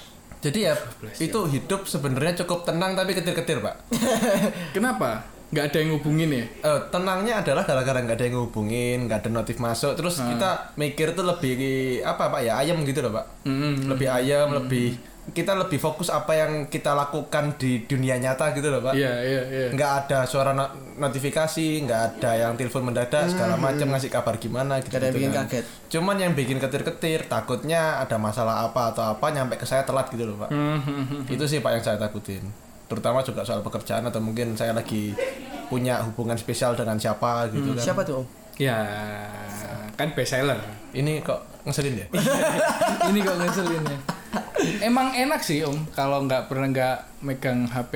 Jadi ya itu hidup sebenarnya cukup tenang tapi ketir-ketir pak.
Kenapa? Nggak ada yang ngubungin ya?
Eh, tenangnya adalah gara-gara nggak ada yang ngehubungin, nggak ada notif masuk, terus
Hmm.
kita mikir tuh lebih apa pak ya ayam gitu loh pak,
Hmm,
lebih ayam, lebih kita lebih fokus apa yang kita lakukan di dunia nyata gitu loh pak,
Iya, iya, iya.
nggak ada suara no- notifikasi, nggak ada yang telepon mendadak
Hmm,
segala macam ngasih kabar gimana gitu.
Gak ada yang bikin kaget.
Cuman yang bikin ketir-ketir takutnya ada masalah apa atau apa nyampe ke saya telat gitu loh pak. Itu sih pak yang saya takutin. Terutama juga soal pekerjaan atau mungkin saya lagi punya hubungan spesial dengan siapa gitu kan.
Siapa tuh, Om?
Ya, kan best seller.
Ini kok ngeselin ya?
Ini kok ngeselin ya. Emang enak sih Om kalau nggak pernah nggak megang HP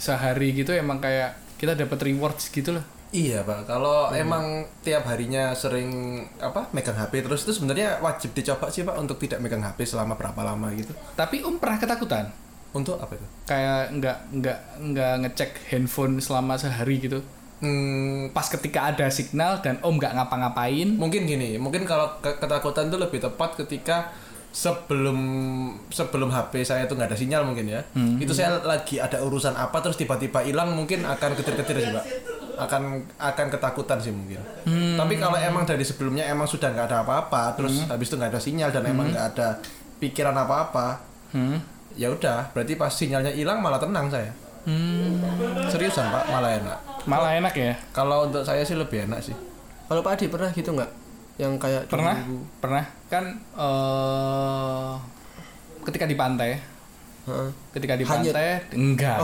sehari gitu emang kayak kita dapat rewards gitu loh.
iya pak. Kalau emang tiap harinya sering apa megang HP terus itu sebenarnya wajib dicoba sih pak untuk tidak megang HP selama berapa lama gitu.
Tapi Om pernah ketakutan?
Untuk apa itu?
Kayak nggak nggak nggak ngecek handphone selama sehari gitu.
Hmm,
Pas ketika ada signal dan Om nggak ngapa-ngapain.
mungkin gini mungkin kalau ke- ketakutan itu lebih tepat ketika sebelum sebelum HP saya itu nggak ada sinyal mungkin ya itu saya lagi ada urusan apa terus tiba-tiba hilang mungkin akan ketir-ketir sih pak akan akan ketakutan sih mungkin tapi kalau emang dari sebelumnya emang sudah nggak ada apa-apa terus habis itu nggak ada sinyal dan emang nggak ada pikiran apa-apa
Hmm.
ya udah berarti pas sinyalnya hilang malah tenang saya
Hmm.
seriusan pak malah enak
Malah enak ya.
kalau untuk saya sih lebih enak sih
Kalau Pak Adi pernah gitu nggak? Yang kayak
Pernah?
dulu-
Pernah kan eh ketika di pantai,
Heeh.
ketika di
Hanyut.
pantai enggak.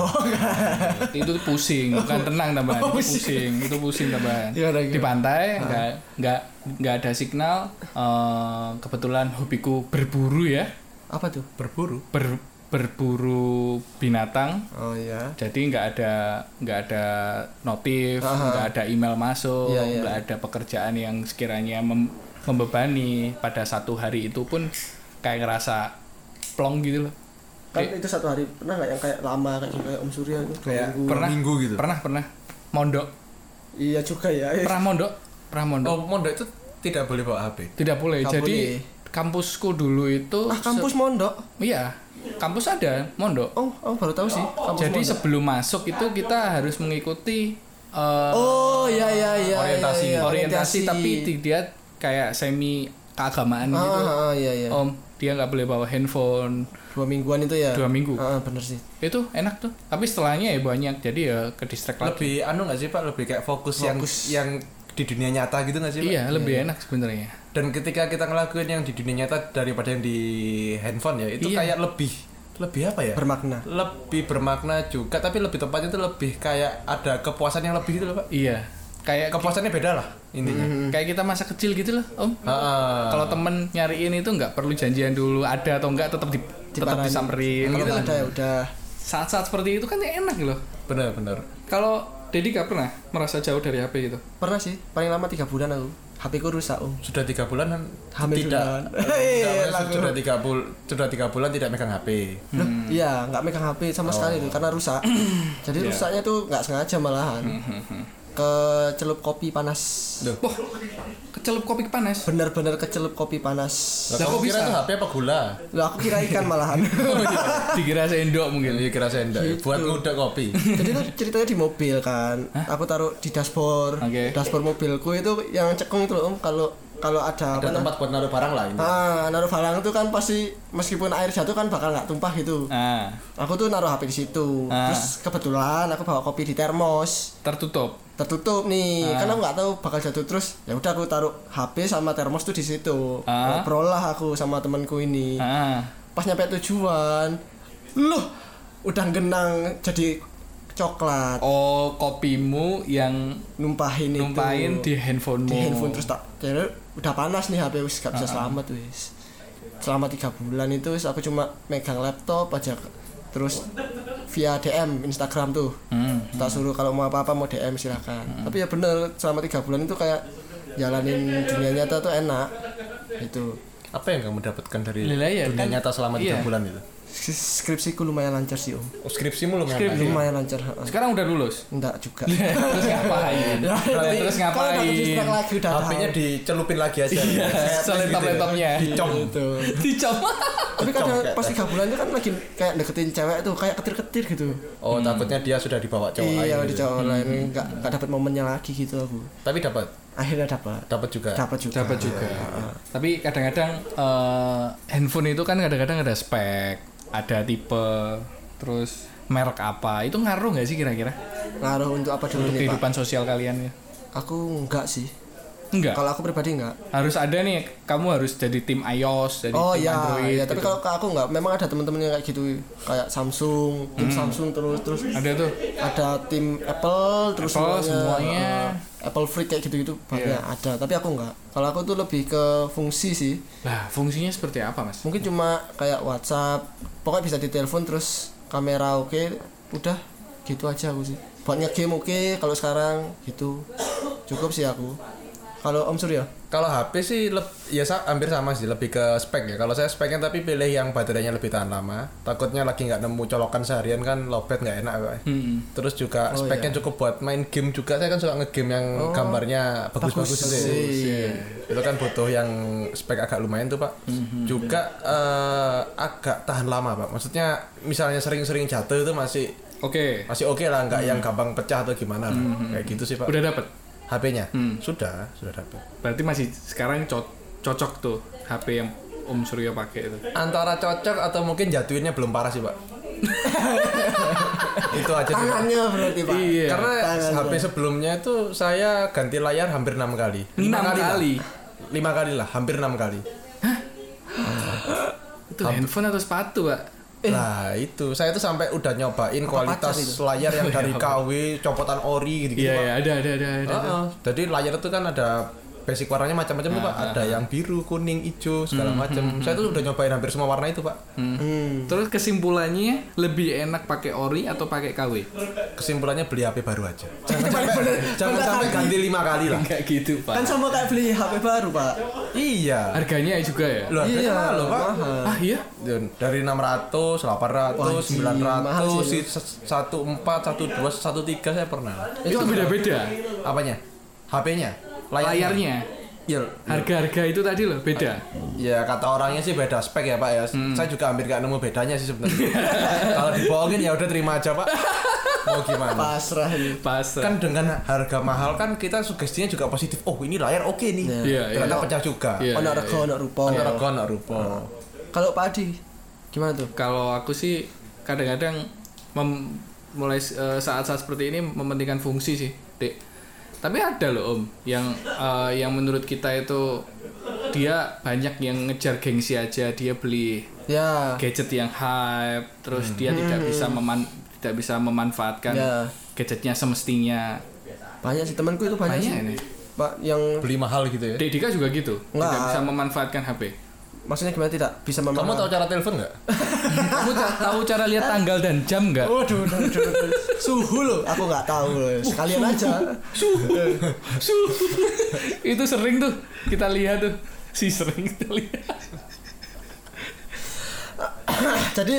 itu tuh pusing, bukan tenang tambahan.
Oh,
itu
pusing.
pusing, itu pusing tambahan.
Iya, ada
di
gitu.
pantai enggak enggak enggak ada signal eh kebetulan hobiku berburu ya.
Apa tuh?
berburu
Ber- berburu binatang.
Oh ya.
Jadi nggak ada nggak ada notif, nggak ada email masuk,
Ah. Iya, iya.
nggak ada pekerjaan yang sekiranya mem- membebani. Pada satu hari itu pun kayak ngerasa plong gitu loh.
Kan itu satu hari pernah nggak yang kayak lama kayak gitu, kayak Om Surya itu?
Kayak
Minggu.
Pernah
minggu gitu.
Pernah pernah. Mondok.
Iya juga ya.
Pernah mondok. Pernah mondok.
oh mondok itu tidak boleh bawa HP
Tidak boleh.
nggak
Jadi
boleh.
kampusku dulu itu
Ah kampus mondok.
se- iya. Kampus ada mondok.
Oh, oh baru tahu sih. Kampus
Jadi
mondok.
sebelum masuk itu kita harus mengikuti eh,
Oh ya ya ya.
Orientasi.
ya, ya,
orientasi tapi di- dia kayak semi keagamaan
Ah,
gitu
ah, ah, iya iya.
om dia nggak boleh bawa handphone
Dua mingguan itu ya.
Dua minggu.
Ah, ah, bener sih.
itu enak tuh tapi setelahnya ya banyak jadi ya ke distract lagi
lebih anu nggak sih pak lebih kayak fokus,
Fokus.
yang yang di dunia nyata gitu nggak sih pak?
iya lebih enak sebenarnya
dan ketika kita ngelakuin yang di dunia nyata daripada yang di handphone ya itu
Iya.
kayak lebih lebih apa ya
Bermakna.
lebih bermakna juga tapi lebih tepatnya itu lebih kayak ada kepuasan yang lebih gitu loh pak
iya kayak Mhm.
kepuasannya beda lah intinya
Hmm.
kayak kita masa kecil gitu loh om
Ah,
kalau temen nyariin itu nggak perlu janjian dulu ada atau nggak tetap di tetap
Diparani.
disamperin
Kalau
gitu
nggak
loh.
ada ya udah.
saat-saat seperti itu kan enak loh
benar-benar
kalau Dedi gak pernah merasa jauh dari HP gitu
Pernah sih. Paling lama tiga bulan aku. HP ku rusak om.
sudah tiga bulan kan
Hamil
tidak
duluan.
Eh,
Hei,
tidak,
lagu.
sudah tiga bulan sudah tiga bulan tidak megang HP
iya, Loh,
Hmm.
Iya, nggak megang HP sama sekali
Oh.
tuh, karena rusak. Jadi
Iya.
rusaknya tuh nggak sengaja malahan.
Hmm,
Kecelup kopi panas.
Wah, kecelup kopi panas
Bener-bener kecelup kopi panas.
Lah,
Lah,
kamu
kok
kira
bisa?
itu HP apa gula
Loh, aku kira ikan malahan.
Oh, iya. dikira sendok mungkin Gitu.
Iya kira sendok ya, buat ngudek kopi
Jadi tuh ceritanya di mobil kan. Aku taruh di dashboard.
Oke.
Dashboard mobilku itu yang cekung itu loh, Om, kalau kalau ada apa
ada
nah-
tempat buat naruh barang lah ini
Ah, naruh barang itu kan pasti meskipun air jatuh kan bakal nggak tumpah gitu.
ah
Aku tuh naruh HP di situ.
Ah.
Terus kebetulan aku bawa kopi di termos.
tertutup
tertutup nih
Ah.
karena nggak tahu bakal jatuh terus ya udah aku taruh HP sama termos tuh di situ
Ah.
ngobrol lah aku sama temanku ini
ah
pas nyampe tujuan loh udah genang jadi coklat
oh kopimu yang
numpahin,
numpain
itu
di handphonemu
di handphone terus tak jadi udah panas nih HP wis gak
Ah,
bisa selamat wis selama tiga bulan itu wis aku cuma megang laptop aja terus via DM Instagram tuh
Hmm.
tak suruh kalau mau apa-apa mau DM silahkan tapi ya bener selama tiga bulan itu kayak jalanin dunia nyata tuh enak itu
apa yang kamu dapatkan dari
Lah, iya,
dunia
kan-
nyata selama tiga
iya.
bulan itu
skripsiku lumayan lancar sih om
oh, skripsimu lumayan
Iya. Skrip-
baik.
lumayan lancar ha-ha.
sekarang udah lulus
enggak juga
terus ngapain terus
Kalau udah
ngapain
ke-distract lagi udah
HP-nya
tahu.
dicelupin lagi aja gitu ya.
Iya, selentap-lentapnya.
dicom
Gitu.
dicom
tapi kadang
Congkak.
pas tiga bulan itu kan lagi kayak deketin cewek tuh kayak ketir-ketir gitu
oh takutnya dia sudah dibawa cowok lain
iya di
gitu.
cowok
Hmm.
lain nggak nggak dapat momennya lagi gitu aku
tapi dapat
akhirnya dapat
dapat juga
dapat juga
dapat juga
iya,
tapi kadang-kadang eh, handphone itu kan kadang-kadang ada spek ada tipe terus merek apa itu ngaruh nggak sih kira-kira
ngaruh untuk apa dulu nih
untuk
pak
kehidupan sosial kalian ya
aku enggak sih
enggak
kalau aku pribadi enggak
harus ada nih kamu harus jadi tim iOS jadi
Oh
tim
iya,
Android
iya, tapi
gitu.
kalau ke aku nggak, memang ada teman-teman yang kayak gitu, kayak Samsung, tim Samsung terus terus
Hmm. ada tuh
ada tim Apple terus
Apple, semuanya. Iya.
eh, Apple free kayak gitu-gitu banyak ada, tapi aku nggak. Kalau aku tuh lebih ke fungsi sih,
lah fungsinya seperti apa mas
mungkin cuma kayak WhatsApp, pokoknya bisa ditelepon terus kamera oke, udah gitu aja aku sih. Buat nge-game oke, kalau sekarang gitu cukup sih aku. Kalau Om Surya,
kalau HP sih leb- ya sa- hampir sama sih lebih ke spek ya kalau saya speknya tapi pilih yang baterainya lebih tahan lama takutnya lagi nggak nemu colokan seharian kan lowbat nggak enak Pak.
Hmm.
terus juga
Oh, iya.
speknya cukup buat main game juga saya kan suka ngegame yang gambarnya bagus-bagus
Bagus. Iya.
gitu ya. itu kan butuh yang spek agak lumayan tuh pak
Hmm,
juga
iya.
eh, agak tahan lama pak maksudnya misalnya sering-sering jatuh itu masih
oke
masih oke lah nggak
Hmm.
yang gampang pecah atau gimana kayak gitu sih pak
udah dapet
Hmm.
HP-nya sudah sudah dapat
berarti masih sekarang co- cocok tuh HP yang Om Surya pakai itu?
Antara cocok atau mungkin jatuhinnya belum parah sih, Pak. itu aja sih. Pak.
tangannya berarti pak
Iya.
Karena
Tangan,
HP sebelumnya itu saya ganti layar hampir enam kali.
Enam
Lima lah.
kali.
Lima kali lah, hampir enam kali.
Itu handphone atau sepatu, Pak?
Nah itu, saya tuh sampai udah nyobain kualitas
pacar itu?
layar yang dari KW, copotan ori
Gitu,
gitu-gitu
Iya,
Pak.
iya, ada, ada, ada, ada.
Heeh. Jadi layar itu kan ada basic warnanya macam-macam tuh pak. Ada yang biru, kuning, hijau segala macam. Saya tuh udah nyobain hampir semua warna itu pak.
Hmm.
Terus kesimpulannya lebih enak pakai ori atau pakai KW?
Kesimpulannya beli HP baru aja. Jangan
Bentar,
sampai
Kak.
ganti lima kali lah.
Enggak gitu,
kan
Pak.
sama kayak beli HP baru pak
Iya.
Harganya juga ya?
Loh,
Iya,
iya loh pak.
Ah, iya.
Dan Dari 600, 800,
Wajib, mahal
900,
sih.
si- se- 14, 12, 13 saya pernah.
Itu beda-beda.
Apanya? HP-nya?
Layarnya.
Iya.
Harga-harga itu tadi loh, beda.
Ya kata orangnya sih beda spek ya Pak ya. Saya juga hampir gak nemu bedanya sih sebenarnya. Kalau dibohongin ya udah terima aja Pak. Mau gimana?
pasrah ini
Iya. Pasar.
Kan dengan harga mahal kan kita sugestinya juga positif. Oh ini layar oke nih.
Iya,
Ternyata
iya.
pecah juga.
Iya.
ono rego ono rupa
Antara gua nak rupa.
kalau Pak Adi gimana tuh
Kalau aku sih kadang-kadang mem- mulai eh, saat-saat seperti ini mementingkan fungsi sih, Dek. Tapi ada loh Om yang eh, yang menurut kita itu dia banyak yang ngejar gengsi aja, dia beli
ya
gadget yang hype, terus dia tidak bisa meman- tidak bisa memanfaatkan
Hmm. Ya.
gadgetnya semestinya.
banyak sih temanku itu banyak,
Banyak
sih
ini.
pak yang
Beli mahal gitu ya.
Dek Dika juga gitu, tidak
Nggak.
bisa memanfaatkan HP.
maksudnya gimana tidak bisa memakai
Kamu tahu cara telepon nggak?
Kamu ta- tahu cara lihat tanggal dan jam nggak?
Waduh, waduh, waduh, waduh. suhu loh, aku nggak tahu loh. Sekalian aja.
itu sering tuh kita lihat tuh si sering kita lihat
Jadi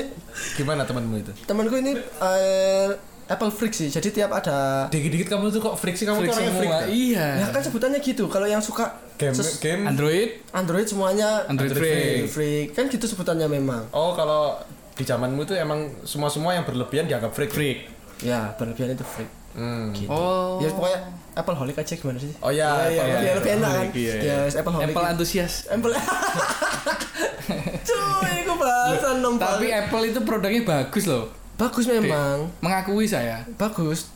Gimana temanmu itu?
temanku ini eh, Apple freak sih. Jadi tiap ada
Dikit-dikit kamu tuh kok friksi kamu tuh orangnya freak.
iya
ya kan sebutannya gitu. Kalau yang suka
Game,
ses-
game.
Android
Android semuanya
Android freak.
freak. Kan gitu sebutannya memang.
Oh kalau di zamanmu tuh emang semua-semua yang berlebihan dianggap freak.
freak
Ya, berlebihan itu freak.
Hmm.
oh
Ya pokoknya Apple holic aja gimana sih?
Oh ya,
Ya, ya,
Apple
biar lebih enak kan.
Holic, iya,
Ya,
iya.
Apple holic.
Apple antusias
Apple. Cuy, aku bahasan nomor.
tapi Apple itu produknya bagus loh
bagus memang.
mengakui saya
Bagus.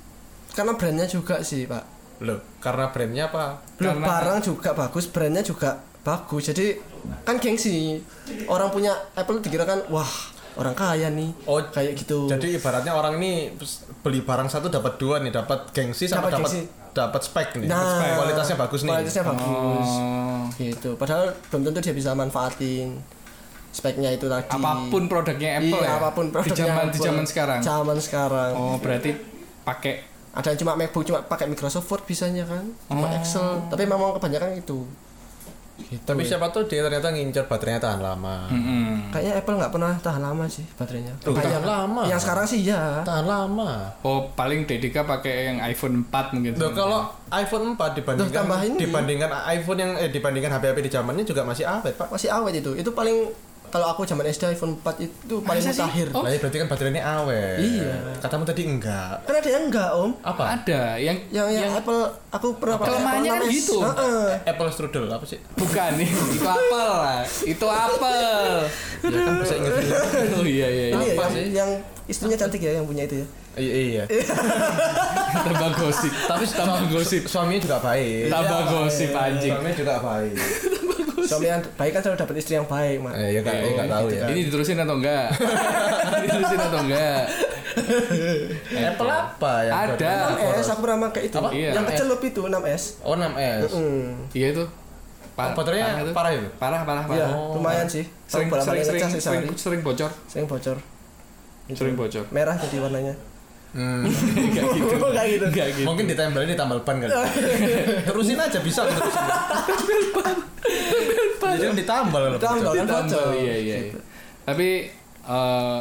Karena brandnya juga sih, Pak.
Loh, karena brandnya apa?
Loh,
Karena-
barang juga bagus, brandnya juga bagus. Jadi kan gengsi. Orang punya Apple dikira kan, wah orang kaya nih.
Oh,
kayak gitu.
Jadi ibaratnya orang ini beli barang satu dapat dua nih, dapat gengsi sama
Dapat
dapat
gengsi.
dapat spek nih. Spek. Kualitasnya bagus nih.
Nah, Kualitasnya bagus.
oh
Gitu. Padahal belum tentu dia bisa manfaatin speknya itu tadi.
apapun produknya Apple
Iya,
ya
apapun produknya
di zaman di
Apple.
zaman sekarang
Zaman sekarang.
oh berarti pakai
Ada yang cuma MacBook cuma pakai Microsoft Word bisanya kan, cuma
Oh.
Excel. Tapi memang kebanyakan itu.
Hmm.
Tapi siapa tuh dia ternyata ngincer baterainya tahan lama.
Hmm. Mm-mm.
Kayaknya Apple nggak pernah tahan lama sih baterainya.
Tuh, tahan
Kebanyakan.
lama.
Yang sekarang sih ya.
Tahan lama.
oh paling Dedika pakai yang iPhone 4 mungkin
Loh, kalau iPhone 4
Loh, tambah
dibandingkan
ini.
dibandingkan iPhone yang eh, dibandingkan HP-HP di zamannya juga masih awet, Pak.
masih awet itu itu paling kalau aku zaman SD iPhone 4 itu paling
Masa sih?
mutakhir
Oh.
Lah, ya berarti kan baterainya awet.
Iya.
Katamu tadi enggak.
kan ada yang enggak om
Apa?
ada yang
yang yang, Apple aku pernah pakai
Kelemahannya
Apple
kan
6S.
gitu.
Heeh.
Apple strudel apa sih?
Bukan itu apel lah. Itu apel.
Ya kan bahasa Inggris.
Oh iya iya.
ini
iya.
ya,
Apa
yang,
sih?
yang istrinya cantik ya yang punya itu ya
Iya, iya.
Tambah gosip. Tapi tambah gosip.
Suaminya juga
Iya,
baik.
Tambah gosip anjing.
Suaminya juga baik.
suami yang baik kan selalu dapat istri yang baik mak
Eh, ya enggak
Oh,
enggak tahu
gitu.
ya.
Ini diterusin atau enggak? diterusin atau enggak?
Apple apa yang
Ada.
berada-
6S aku pernah pakai itu
Apa?
Iya,
yang
6S.
kecelup itu 6S
Oh 6S.
hmm.
Iya itu. Pa-
Oh, baterainya
itu.
parah itu?
Parah parah
ya
parah.
lumayan sih
Oh. Sering,
Aku
sering,
bolak-balik
sering,
ngecas sih
sering,
sehari.
sering bocor.
sering bocor Gitu.
Sering bocor.
merah jadi warnanya
Hmm.
Enggak gitu.
Kayak gitu.
Enggak gitu.
Mungkin ditempelin di tambal ban kali. terusin aja bisa aku terusin. Jadi kan ditambal loh. Bocor.
Ditambal. Kan bocor.
Ditambah, Iya iya. iya. Tapi eh,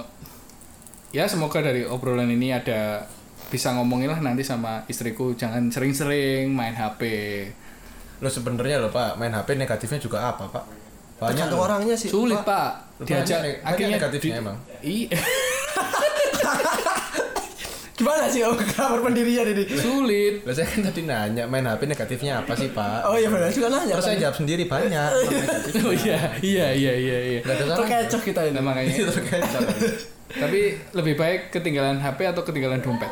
ya semoga dari obrolan ini ada bisa ngomongin lah nanti sama istriku jangan sering-sering main HP.
Loh sebenarnya loh Pak, main HP negatifnya juga apa Pak? Banyak
tergantung
loh.
orangnya sih Iya,
Sulit
Pak.
Banyak
pak. Diajak
neg- banyak
akhirnya
negatifnya
di-
emang.
Iya.
Gimana sih Om kamar pendirian ini?
Sulit.
Lah saya kan tadi nanya main HP negatifnya apa sih pak?
Oh iya benar juga nanya.
Terus saya jawab sendiri banyak.
Oh iya, iya, iya, iya, iya.
Gak ada salahnya.
Iya, Terkecoh kita ini.
Nah,
Itu
makanya.
terkecoh.
Tapi lebih baik ketinggalan HP atau ketinggalan dompet?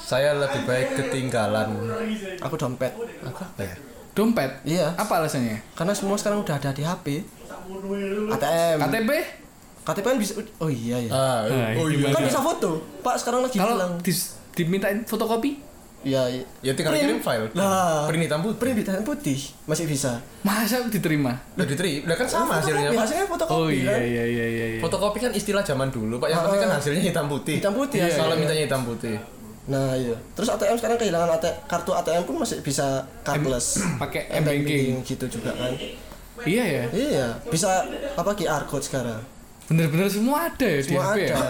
Saya lebih baik ketinggalan.
Aku dompet.
Apa
Ah,
ya?
Dompet?
Iya.
Apa alasannya?
Karena semua sekarang udah ada di HP. ATM.
KTP?
KTP kan bisa Oh iya ya.
Ah,
Nah,
oh iya.
gimana?
Kan bisa foto. Pak sekarang lagi hilang.
Kalau dis- dimintain fotokopi?
Iya. iya.
Ya tinggal
Print.
kirim file.
Lah.
Print hitam putih.
Print hitam putih masih bisa.
Masa diterima?
Udah diterima. Lah kan sama hasilnya.
Fotokopi,
Pak.
Hasilnya fotokopi
Oh
kan.
iya, iya, iya, iya. iya.
Fotokopi kan istilah zaman dulu, Pak. Yang penting kan hasilnya hitam putih.
Ah. Hitam putih,
Iya,
iya,
Soalnya
iya.
mintanya hitam putih.
Nah iya. Terus ATM sekarang kehilangan ATM, kartu ATM pun masih bisa cardless.
pakai
M banking
m-banking.
gitu juga kan.
Iya ya.
Iya. Bisa apa QR code sekarang.
Bener-bener semua ada ya di
Semua
HP ya?
ada.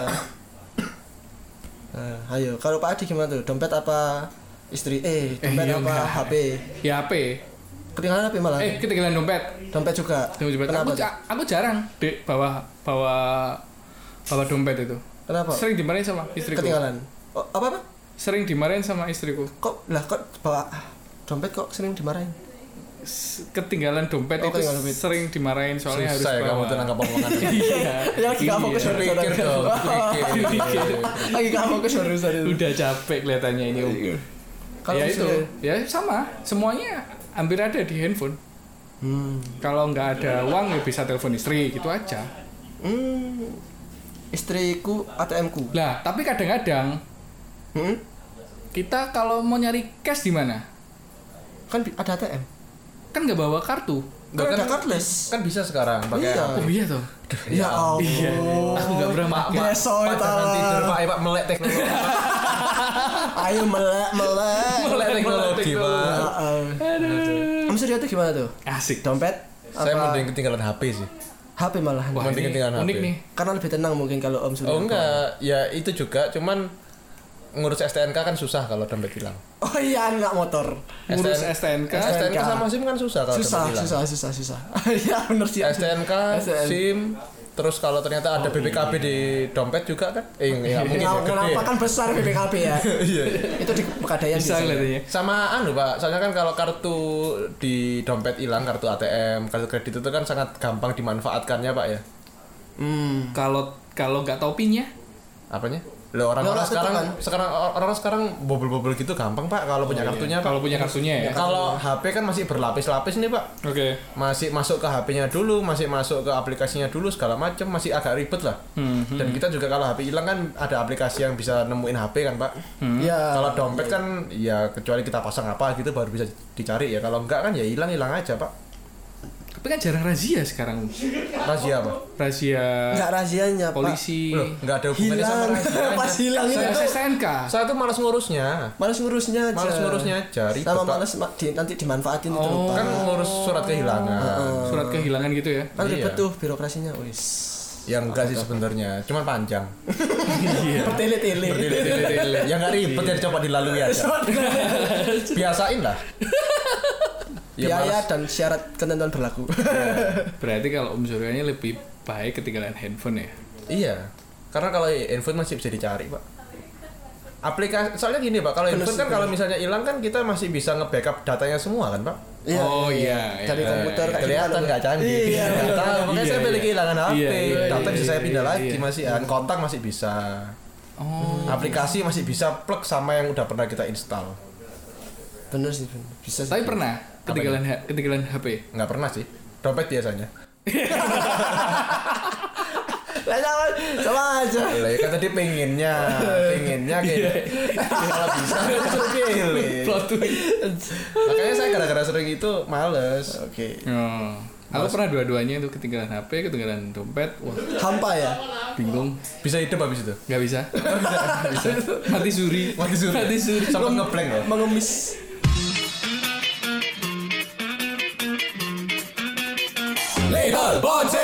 Nah, ayo, kalau Pak Adi gimana tuh? Dompet apa istri? Eh, dompet
iya,
apa
enggak.
HP?
Ya HP.
Ketinggalan HP malah.
Eh, ketinggalan dompet.
Dompet juga.
Dompet
Nah.
dompet.
Kenapa?
Aku,
tuh?
ja- aku jarang di bawa bawa bawa dompet itu.
Kenapa?
Sering dimarahin sama istriku.
Ketinggalan. Oh, apa apa?
Sering dimarahin sama istriku.
Kok lah kok bawa dompet kok sering dimarahin?
S- Ketinggalan dompet
Oh,
itu
ketinggalan dompet.
sering dimarahin soalnya harus
Susah ya kamu
bawa.
tuh nangkap omongan.
Iya.
Ya lagi nggak fokus
Iya.
Pikir dong, pikir.
Lagi nggak fokus barusan itu.
Udah capek kelihatannya ini. Om.
Iya. Kalau
ya itu,
misalnya-
ya sama. Semuanya hampir ada di handphone.
Hmm.
Kalau nggak ada uang ya bisa telepon istri gitu aja.
Hmm. Istriku ATM-ku.
Lah, tapi kadang-kadang
Hmm?
kita kalau mau nyari cash di mana?
Kan bi- ada ATM.
Kan nggak bawa kartu.
Nggak,
Kan
kan-
ada cardless.
Kan bisa sekarang pakai
Iya.
HP.
Oh iya toh.
Ya ampun.
Iya. Aku nggak pernah pakai.
Pak. Soalnya
Pak, jangan
tak.
tidur, Pak. Eh, Pak, melek teknologi.
Ayo melek melek.
Melek teknologi, Pak.
Aduh. Om Surya tuh gimana tuh?
Asik.
Dompet?
Saya
apa Iya,
mending ketinggalan HP sih.
HP malahan.
Wah,
Mending
ini
ketinggalan
unik
HP.
nih.
Karena lebih tenang mungkin kalau Om Surya.
Oh enggak, ya itu juga, cuman ngurus STNK kan susah kalau dompet hilang.
Oh iya, anak motor.
Ngurus
STN
STNK.
STNK, sama SIM kan susah kalau dompet
Susah,
hilang.
susah, susah, susah. Iya, bener sih.
STNK,
STN.
SIM, terus kalau ternyata
Oh,
ada BPKB di dompet juga kan? Eh, enggak mungkin ya,
iya, Kenapa,
gede. Iya,
kenapa kan besar BPKB ya? Itu di Pegadaian
Bisa
biasanya.
kelihatannya.
Sama anu Pak, soalnya kan kalau kartu di dompet hilang, kartu ATM, kartu kredit itu kan sangat gampang dimanfaatkannya Pak ya.
Hmm.
Kalau kalau nggak tau pinnya,
Apanya? Loh, orang-orang
Lah, itu
sekarang
kan.
sekarang orang sekarang bobol-bobol gitu gampang Pak kalau punya kartunya Pak.
Iya, kalau punya kartunya ya.
Kalau HP kan masih berlapis-lapis nih Pak.
Oke.
masih masuk ke HP-nya dulu, masih masuk ke aplikasinya dulu segala macam masih agak ribet lah. Dan kita juga kalau HP hilang kan ada aplikasi yang bisa nemuin HP kan, Pak.
Iya.
Kalau dompet kan ya kecuali kita pasang apa gitu baru bisa dicari ya. Kalau enggak kan ya hilang-hilang aja, Pak.
Tapi kan jarang razia sekarang.
Razia, Pak.
Razia
Enggak rahasianya, Pak.
polisi.
Loh, enggak ada hubungannya sama
Hilang.
razianya.
Pas hilang itu.
Ngurus STNK.
Saya tuh malas ngurusnya.
Males ngurusnya aja.
Males ngurusnya aja, ribet,
Sama
Pak.
males ma- di- nanti dimanfaatin itu loh, Pak.
Kan ngurus surat kehilangan.
Surat kehilangan gitu ya.
Kan ribet
iya.
tuh birokrasinya, wis.
Ya enggak sih sebenarnya, cuman panjang. Iya.
Bertele-tele.
Bertele-tele. ya enggak ribet ya coba dilalui aja. Biasain lah. Ya,
Biaya
males.
dan syarat ketentuan berlaku.
Berarti kalau Om Surya ini lebih baik ketinggalan handphone ya.
Iya. Karena kalau handphone masih bisa dicari, Pak. Aplikasi soalnya gini, Pak. Kalau handphone kan kalau misalnya hilang kan kita masih bisa nge-backup datanya semua kan, Pak?
Oh, iya,
Dari
iya,
komputer kayak
Kelihatan
gimana,
nggak
Pak?
canggih.
Iya.
Nggak tahu. Makanya
Iya,
saya pilih
iya.
kehilangan HP.
Iya, iya,
Data
iya,
bisa saya
iya,
pindah
iya,
lagi
iya.
masih kontak masih bisa.
Oh.
Aplikasi masih bisa plug sama yang udah pernah kita install.
Bener sih, bener. Bisa sih.
Tapi pernah ketinggalan ha- ketinggalan HP.
Nggak pernah sih. Dompet biasanya.
Lah, sama, sama aja. Iya.
Lah ya kan tadi pengennya, pengennya kayak gitu. kalau bisa langsung pilih.
Plot twist.
Makanya saya gara-gara sering itu males.
Oke.
Oh. Aku pernah dua-duanya itu ketinggalan HP, ketinggalan dompet. Wah,
Hampa ya?
bingung.
Bisa hidup habis itu.
Nggak bisa. Mati suri.
Mati suri.
Mati suri.
Sampai ngeblank loh.
Mengemis.
Little Boce